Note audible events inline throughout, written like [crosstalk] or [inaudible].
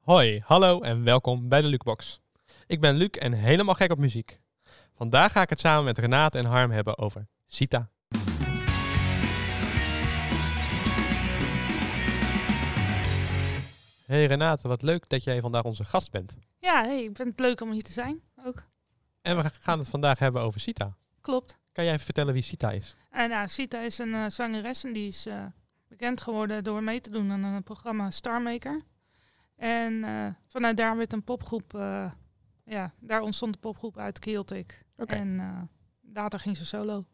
Hoi, hallo en welkom bij de Lukebox. Ik ben Luc en helemaal gek op muziek. Vandaag ga ik het samen met Renate en Harm hebben over Sita. Hey Renate, wat leuk dat jij vandaag onze gast bent. Ja, hey, ik vind het leuk om hier te zijn. Ook. En we gaan het vandaag hebben over Sita. Klopt. Kan jij even vertellen wie Sita is? En nou, Sita is een eh, zangeres en die is eh, bekend geworden door mee te doen aan een programma Starmaker. En eh, vanuit daar werd een popgroep, eh, ja, daar ontstond de popgroep uit Celtic. Oké. En eh, later ging ze solo.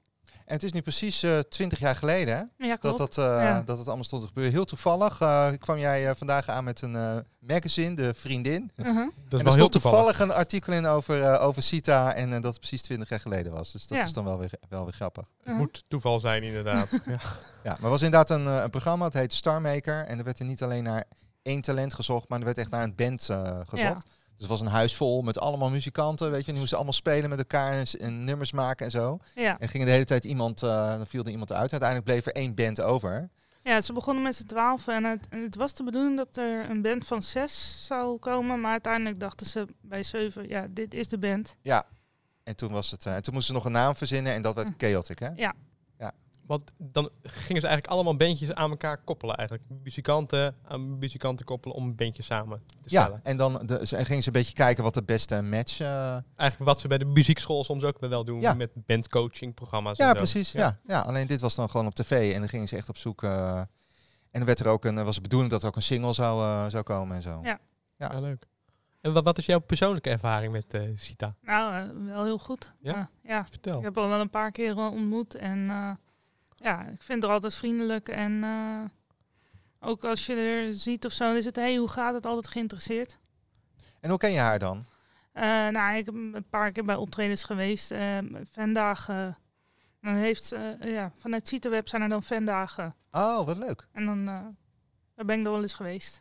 En het is nu precies eh, twintig jaar geleden hè, Ja, klopt. dat, dat, eh, Ja. dat het allemaal stond te gebeuren. Heel toevallig eh, kwam jij eh, vandaag aan met een eh, magazine, De Vriendin. Uh-huh. Dat en er stond toevallig een artikel in over, eh, over CITA en eh, dat het precies twintig jaar geleden was. Dus dat Ja. is dan wel weer, wel weer grappig. Het moet toeval zijn inderdaad. ja. Ja, maar het was inderdaad een, eh, een programma, het heette Star Maker. En er werd er niet alleen naar één talent gezocht, maar er werd echt naar een band eh, gezocht. Ja. Dus het was een huis vol met allemaal muzikanten, weet je. En die moesten allemaal spelen met elkaar en, s- en nummers maken en zo. Ja. En ging de hele tijd iemand, eh, dan viel er iemand uit. Uiteindelijk bleef er één band over. ja, ze begonnen met z'n twaalf en het, en het was de bedoeling dat er een band van zes zou komen. Maar uiteindelijk dachten ze bij zeven, ja, dit is de band. En toen, was het, eh, en toen moesten ze nog een naam verzinnen en dat Ah. werd Chaotic, hè? Want dan gingen ze eigenlijk allemaal bandjes aan elkaar koppelen eigenlijk. Muzikanten aan muzikanten koppelen om bandjes samen te stellen. Ja, en dan de, ze- en gingen ze een beetje kijken wat de beste match... eh, Eigenlijk wat ze bij de muziekschool soms ook wel doen Ja. met bandcoachingprogramma's. en ja, zo. precies. Ja. Ja. Ja. alleen dit was dan gewoon op tv en dan gingen ze echt op zoek... eh, en er werd er ook een, was de bedoeling dat er ook een single zou, eh, zou komen en zo. Ja. Ja. Ah, leuk. En wat, wat is jouw persoonlijke ervaring met eh Sita? Nou, eh, wel heel goed. Ja? Eh, ja. Vertel. Ik heb al wel een paar keer eh, ontmoet en eh, ja, ik vind haar altijd vriendelijk. En eh, ook als je er ziet of zo, is het, hé, hey, hoe gaat het? Altijd geïnteresseerd. En hoe ken je haar dan? Eh, nou, ik heb een paar keer bij optredens geweest. eh Vendagen. Dan heeft ze, eh, ja, vanuit CITEWeb zijn er dan Vendagen. Oh, wat leuk. En dan eh, daar ben ik er wel eens geweest.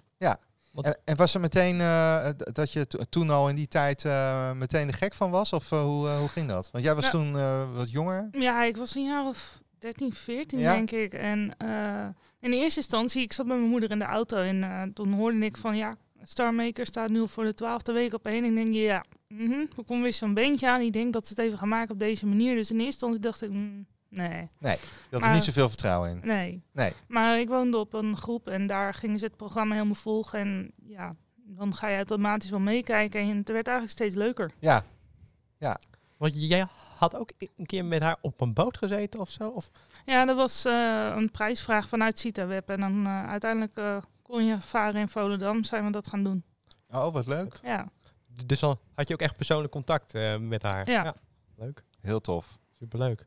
En, en was er meteen eh, d- dat je to- toen al in die tijd eh, meteen de gek van was? Of eh, hoe, eh, hoe ging dat? Want jij was Nou- toen eh, wat jonger. Ja, ik was een jaar of 13, 14 Ja. denk ik. En eh, in de eerste instantie, ik zat met mijn moeder in de auto en eh, toen hoorde ik van ja, Starmaker staat nu voor de twaalfde week op één. En ik denk, ja, mhm, er komt weer zo'n bandje aan. Ik denk dat ze het even gaan maken op deze manier. Dus in eerste instantie dacht ik, mm, nee, Je had er Maar- niet zoveel vertrouwen in. nee. Nee. Maar ik woonde op een groep en daar gingen ze het programma helemaal volgen. En ja, dan ga je automatisch wel meekijken. En het werd eigenlijk steeds leuker. Ja, Want jij had ook i- een keer met haar op een boot gezeten of zo? Of Ja, dat was eh, een prijsvraag vanuit CITA-web. En dan eh, uiteindelijk eh, kon je varen in Volendam, zijn we dat gaan doen. oh, wat leuk. Ja, d- dus dan had je ook echt persoonlijk contact eh, met haar. Ja. Leuk, Heel tof. superleuk.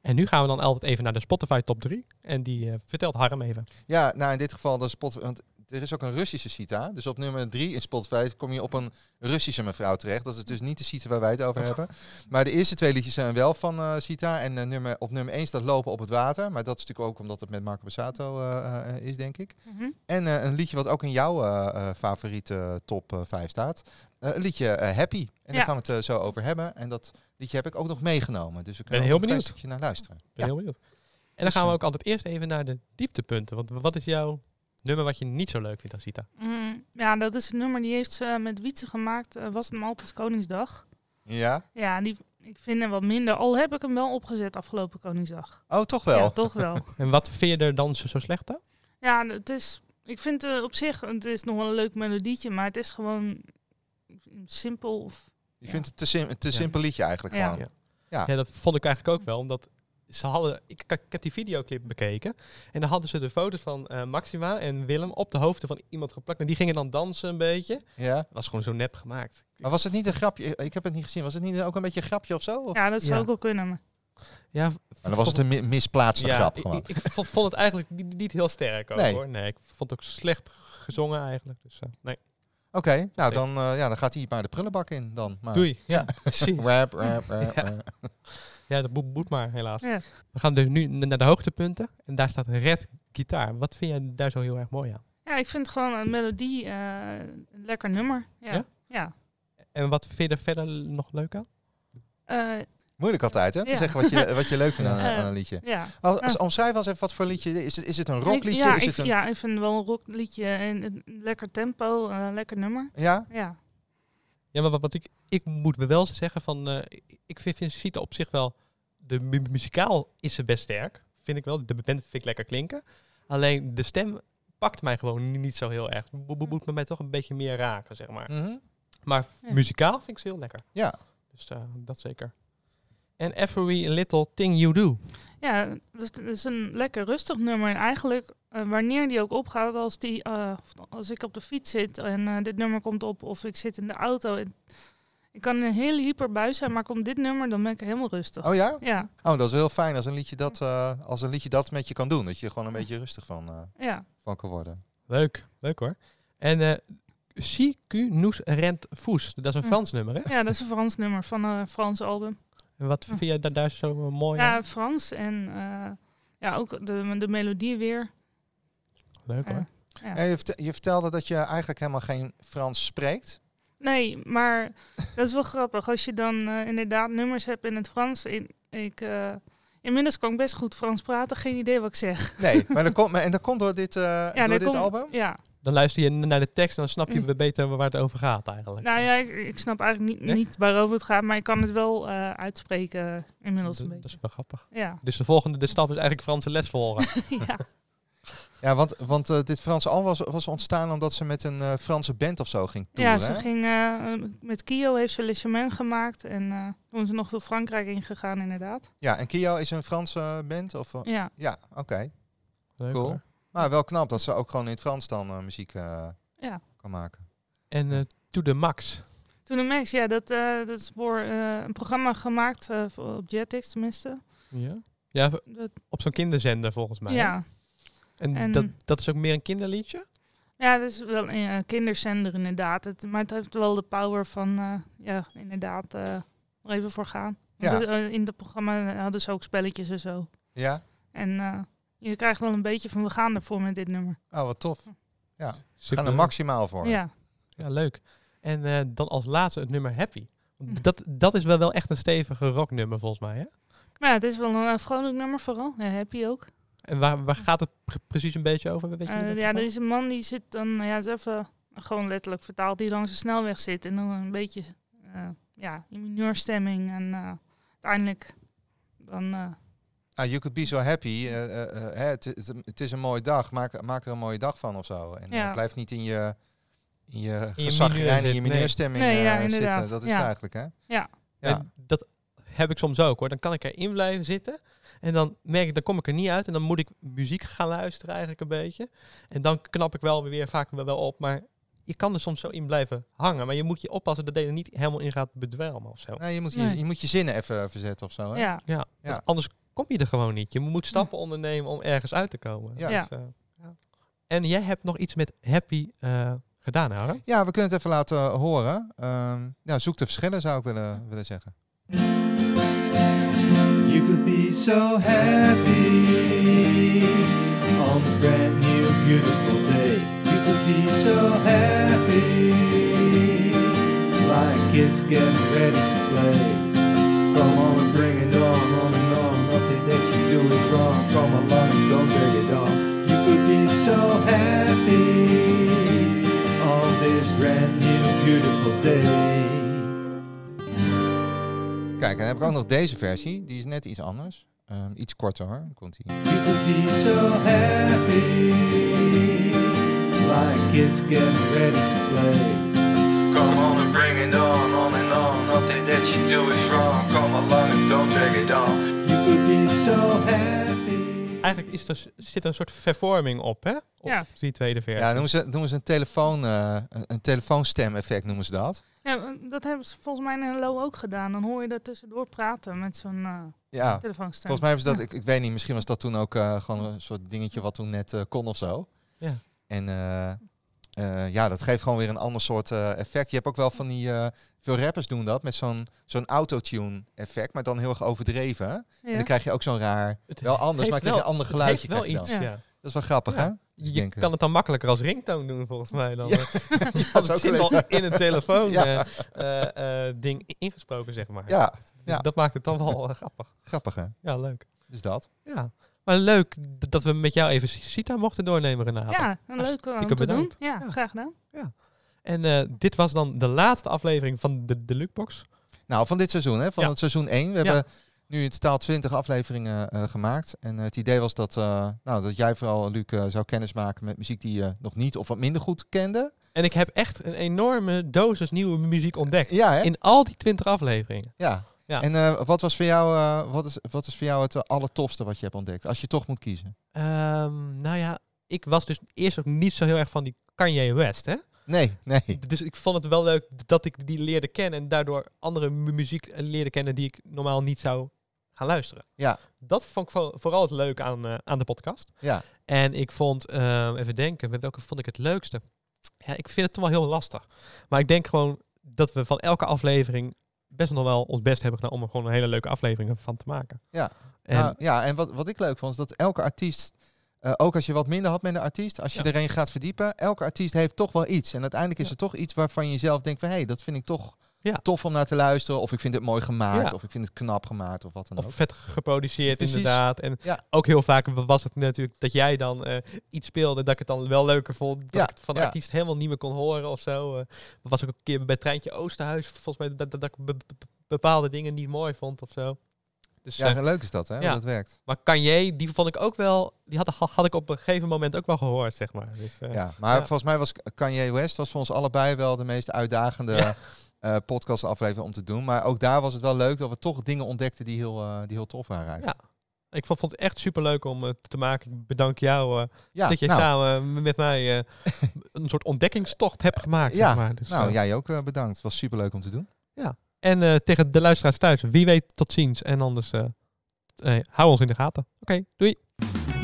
En nu gaan we dan altijd even naar de Spotify top 3. En die eh, vertelt Harm even. Ja, nou in dit geval de Spotify. Want er is ook een Russische Sita. Dus op nummer 3 in Spotify kom je op een Russische mevrouw terecht. Dat is dus niet de Sita waar wij het over hebben. Maar de eerste twee liedjes zijn wel van eh Sita. En eh, nummer, op nummer 1 staat Lopen op het Water. Maar dat is natuurlijk ook omdat het met Marco Bassato eh, eh, is, denk ik. Mhm. En eh, een liedje wat ook in jouw eh, eh, favoriete top 5 staat. Eh, een liedje eh, Happy. Ja. En daar gaan we het eh, zo over hebben. En dat liedje heb ik ook nog meegenomen. Dus we Ben kunnen heel ook nog een benieuwd. klein stukje naar luisteren. Ik ben Ja. heel benieuwd. En dan Dus, gaan we eh, ook altijd eerst even naar de dieptepunten. Want wat is jouw nummer wat je niet zo leuk vindt aan Sita? Mm, ja dat is een nummer die heeft ze met Wietse gemaakt. eh, was het hem altijd Koningsdag? Ja? Ja, die, ik vind hem wat minder. Al heb ik hem wel opgezet afgelopen Koningsdag. Oh, toch wel. Ja, toch wel. [laughs] En wat vind je er dan zo, zo slecht aan? ja, het is... Ik vind eh, op zich, het is nog wel een leuk melodietje, maar het is gewoon simpel. Of, Je vindt het te, sim een te Ja. simpel liedje eigenlijk Ja. gewoon. Ja. Ja. Ja, dat vond ik eigenlijk ook wel, omdat ze hadden, ik, ik heb die videoclip bekeken en dan hadden ze de foto's van eh, Maxima en Willem op de hoofden van iemand geplakt en die gingen dan dansen een beetje. Ja. Dat was gewoon zo nep gemaakt. Maar was het niet een grapje? Ik heb het niet gezien. Was het niet ook een beetje een grapje of zo? Of? ja, dat zou Ja. ook wel kunnen. Maar, Ja, Maar dan was het een mi- misplaatste grap ik- gewoon. Ik, ik vo- vond het eigenlijk niet, niet heel sterk ook, Nee. hoor. Nee, ik vond het ook slecht gezongen eigenlijk. Dus, eh, nee. Oké, nou dan, eh, ja, dan gaat hij maar de prullenbak in dan. Maar. Doei. Ah. [laughs] Ja. precies. Rap, rap, rap, Ja. rap. Ja, dat moet, moet maar helaas. Ja. We gaan dus nu n- naar de hoogtepunten en daar staat Red Gitaar. Wat vind jij daar zo heel erg mooi aan? ja, ik vind gewoon een melodie eh, een lekker nummer. Ja? ja. ja. En wat vind je er verder nog leuk aan? Eh, Moeilijk altijd, hè? Te Ja. zeggen wat je, wat je leuk vindt aan, [laughs] Ja. aan een liedje. Ja. Als, Ja. omschrijf eens even wat voor liedje. Is het, is het een Ik- rockliedje? Ja, is ik, het een, ja, ik vind wel een rockliedje en een lekker tempo, eh, lekker nummer. ja? Ja. Ja, maar wat, wat ik, ik moet me wel zeggen van, eh, ik vind, vind Sita op zich wel, de mu- muzikaal is ze best sterk, vind ik wel. De band vind ik lekker klinken. Alleen de stem pakt mij gewoon ni- niet zo heel erg. Mo- mo- Moet me mij toch een beetje meer raken, zeg maar. Mhm. Maar Ja. muzikaal vind ik ze heel lekker. Ja. Dus eh, dat zeker. En Every Little Thing You Do. Ja, dus het is een lekker rustig nummer. En eigenlijk, eh, wanneer die ook opgaat, als, die, eh, als ik op de fiets zit en eh, dit nummer komt op, of ik zit in de auto. en- ik kan een hele hyperbui zijn, maar komt dit nummer, dan ben ik helemaal rustig. Oh ja? Ja, Oh, dat is heel fijn als een, liedje dat, eh, als een liedje dat met je kan doen. Dat je er gewoon een beetje rustig van, eh, ja. van kan worden. Leuk, leuk hoor. En eh Si Q Nous Rent Fous. Dat is een Hm. Frans nummer, hè? ja, dat is een Frans nummer van een Frans album. En wat Hm. vind jij daar, daar zo eh, Oh, mooi aan? Ja, Frans en eh, ja, ook de, de melodie weer. Leuk hoor. Ja. Ja. En je, verte- je vertelde dat je eigenlijk helemaal geen Frans spreekt. Nee, maar dat is wel grappig. Als je dan eh, inderdaad nummers hebt in het Frans. In, ik, eh, inmiddels kan ik best goed Frans praten. Geen idee wat ik zeg. Nee, maar dat komt, maar- en dat komt door dit, eh, door dan dit kom- album? Ja. Dan luister je n- naar de tekst en dan snap je Mm. weer beter waar het over gaat eigenlijk. Nou ja, ik, ik snap eigenlijk niet, Nee? niet waarover het gaat. Maar ik kan het wel eh, uitspreken inmiddels D- een dat beetje. is wel grappig. [laughs] Ja. Dus de volgende de stap is eigenlijk Franse les [laughs] volgen. ja. Ja, want, want eh, dit Franse album was, was ontstaan omdat ze met een eh, Franse band of zo ging toeren. ja, ze hè? ging eh, met Kio heeft ze logement gemaakt. En eh, toen is ze nog door Frankrijk ingegaan inderdaad. ja, en Kio is een Franse band? Of, Oh. eh, Ja, Ja, oké. Leuk Cool. hoor. Maar wel knap dat ze ook gewoon in het Frans dan eh, muziek eh, ja. kan maken. En eh, To The Max. Toen de Max, ja, dat, eh, dat is voor eh, een programma gemaakt eh, voor- op Jetix tenminste. Ja, ja v- Dat, op zo'n kinderzender volgens mij. hè? ja. En, en- dat, dat is ook meer een kinderliedje? Ja, dat is wel een eh, kinderzender inderdaad. Het, maar het heeft wel de power van, eh, ja, inderdaad, eh er even voor gaan. Want Ja. het, eh, in het programma hadden ze ook spelletjes en zo. Ja? En eh, je krijgt wel een beetje van, we gaan ervoor met dit nummer. Oh, wat tof. Ze gaan Super. er maximaal voor. Ja, Ja, leuk. En eh, dan als laatste het nummer Happy. Want Hm. Dat, dat is wel, wel echt een stevige rocknummer volgens mij. Hè? maar ja, het is wel een eh, vrolijk nummer vooral. Ja, happy ook. En waar, waar gaat het pre- precies een beetje over? Weet je Eh, dat ja, er toevallig? is een man die zit dan, ja, is even gewoon letterlijk vertaald, die langs de snelweg zit. En dan een beetje, eh, ja, in mineurstemming. En eh, uiteindelijk dan... eh, Ah, you could be so happy. eh, eh, eh, hè, Het het- het is een mooie dag. Maak, maak er een mooie dag van of zo. En eh, Ja. blijf niet in je, in je mineur gezagrijn, in je zitten, nee. mineurstemming Nee, ja, eh, zitten. inderdaad. Dat is Ja. het eigenlijk, hè? Ja. Ja. En dat heb ik soms ook hoor. Dan kan ik erin blijven zitten. En dan merk ik, dan kom ik er niet uit. En dan moet ik muziek gaan luisteren eigenlijk een beetje. En dan knap ik wel weer vaak wel wel op. Maar je kan er soms zo in blijven hangen. Maar je moet je oppassen dat je er niet helemaal in gaat bedwelmen of zo. Nee, je, moet je, Nee. je moet je zinnen even verzetten of zo. Hè? ja, Ja, Ja. want anders kom je er gewoon niet. Je moet stappen ondernemen om ergens uit te komen. Ja. Ja. Dus, eh, ja. En jij hebt nog iets met Happy eh, gedaan, hè? Ja, we kunnen het even laten horen. Ehm, ja, zoek de verschillen, zou ik willen, willen zeggen. You could be so happy on this brand new beautiful day. You could be so happy like kids getting ready to play. Come on and bring it on, on and on. Nothing that you do is wrong. Come along and don't let it on. You could be so happy on this brand new beautiful day. Kijk, en dan heb ik ook nog deze versie. Die is net iets anders. Ehm, iets korter hoor. Komt ie. You could be so happy, like kids getting ready to play. Come on and bring it on, on and on. Nothing that you do is wrong. Come along and don't drag it on. You could be so happy. Eigenlijk is er, zit er een soort vervorming op, hè? Op Ja. die tweede versie. Ja, noemen ze, noemen ze een, telefoon, eh, een, een telefoonstem-effect, noemen ze dat. Ja, want dat hebben ze volgens mij in Lo ook gedaan. Dan hoor je dat tussendoor praten met zo'n eh, Ja, telefoonstem. volgens mij hebben ze dat, ik, ik weet niet, misschien was dat toen ook eh, gewoon een soort dingetje wat toen net eh, kon of zo. Ja. En eh, eh, ja, dat geeft gewoon weer een ander soort eh, effect. Je hebt ook wel van die, eh, veel rappers doen dat, met zo'n zo'n autotune-effect, maar dan heel erg overdreven. En Ja. dan krijg je ook zo'n raar, Het wel anders, heeft maar ik krijg wel- een ander het heeft geluidje. wel krijg je iets, dan. ja. dan. Ja. Dat is wel grappig, Ja. hè? Je denken. kan het dan makkelijker als ringtoon doen, volgens mij. Dan, Ja. [laughs] eh, dat als is het ook zit leuk. al in een telefoon Ja. eh, eh, eh, ding i- ingesproken, zeg maar. Ja, Dus dat maakt het dan wel eh, grappig. grappig, hè? Ja, leuk. Dus dat. Ja. Maar leuk d- dat we met jou even C- Sita mochten doornemen, Renate. Ja, Ah, een leuke om Hartstikke te doen. bedankt. Ja, Ja. graag gedaan. En eh, dit was dan de laatste aflevering van de, de Lukebox. Nou, van dit seizoen, hè? Van Ja. het seizoen 1. We Ja. hebben nu in totaal 20 afleveringen eh, gemaakt. En eh, het idee was dat, eh, nou, dat jij vooral, Luc, eh, zou kennismaken met muziek die je nog niet of wat minder goed kende. En ik heb echt een enorme dosis nieuwe muziek ontdekt. Ja, hè? In al die 20 afleveringen. Ja. Ja. En eh, wat was voor jou, eh, wat is, wat is voor jou het eh, allertofste wat je hebt ontdekt? Als je toch moet kiezen. Ehm, nou ja, ik was dus eerst ook niet zo heel erg van die Kanye West, hè? Nee, nee. D- Dus ik vond het wel leuk dat ik die leerde kennen en daardoor andere mu- muziek eh, leerde kennen die ik normaal niet zou gaan luisteren. Ja. Dat vond ik vo- vooral het leuke aan, eh, aan de podcast. Ja. En ik vond, ehm, even denken, met welke vond ik het leukste? Ja, ik vind het toch wel heel lastig. Maar ik denk gewoon dat we van elke aflevering best nog wel ons best hebben gedaan om er gewoon een hele leuke aflevering van te maken. Ja. En, Nou, ja, en wat, wat ik leuk vond, is dat elke artiest, eh, ook als je wat minder had met een artiest, als je Ja. erin gaat verdiepen, elke artiest heeft toch wel iets. En uiteindelijk is Ja. er toch iets waarvan je zelf denkt van, hé, hey, dat vind ik toch Ja. tof om naar te luisteren. Of ik vind het mooi gemaakt, Ja. of ik vind het knap gemaakt, of wat dan ook. Of vet geproduceerd, Precies. inderdaad. En Ja. ook heel vaak was het natuurlijk dat jij dan eh, iets speelde... dat ik het dan wel leuker vond. Dat Ja, ik het van de ja. artiest helemaal niet meer kon horen of zo. Eh, Dat was ook een keer bij Treintje Oosterhuis... volgens mij dat, dat, dat ik be- be- bepaalde dingen niet mooi vond of zo. Dus, eh, Ja, leuk is dat, hè, hoe ja. dat werkt. maar Kanye, die vond ik ook wel... die had, had ik op een gegeven moment ook wel gehoord, zeg maar. Dus, eh, Ja, maar Ja. volgens mij was Kanye West was voor ons allebei wel de meest uitdagende Ja. eh, podcastaflevering om te doen. Maar ook daar was het wel leuk dat we toch dingen ontdekten die heel, eh, die heel tof waren eigenlijk. Ik vond, vond het echt superleuk om het te maken. Ik bedank jou eh, Ja, dat je nou, samen met mij... eh, een soort ontdekkingstocht hebt gemaakt, Ja, zeg maar. Dus, nou eh, jij ook eh, bedankt. Het was superleuk om te doen. En eh, tegen de luisteraars thuis, wie weet tot ziens. En anders eh, eh, hou ons in de gaten. Oké, doei.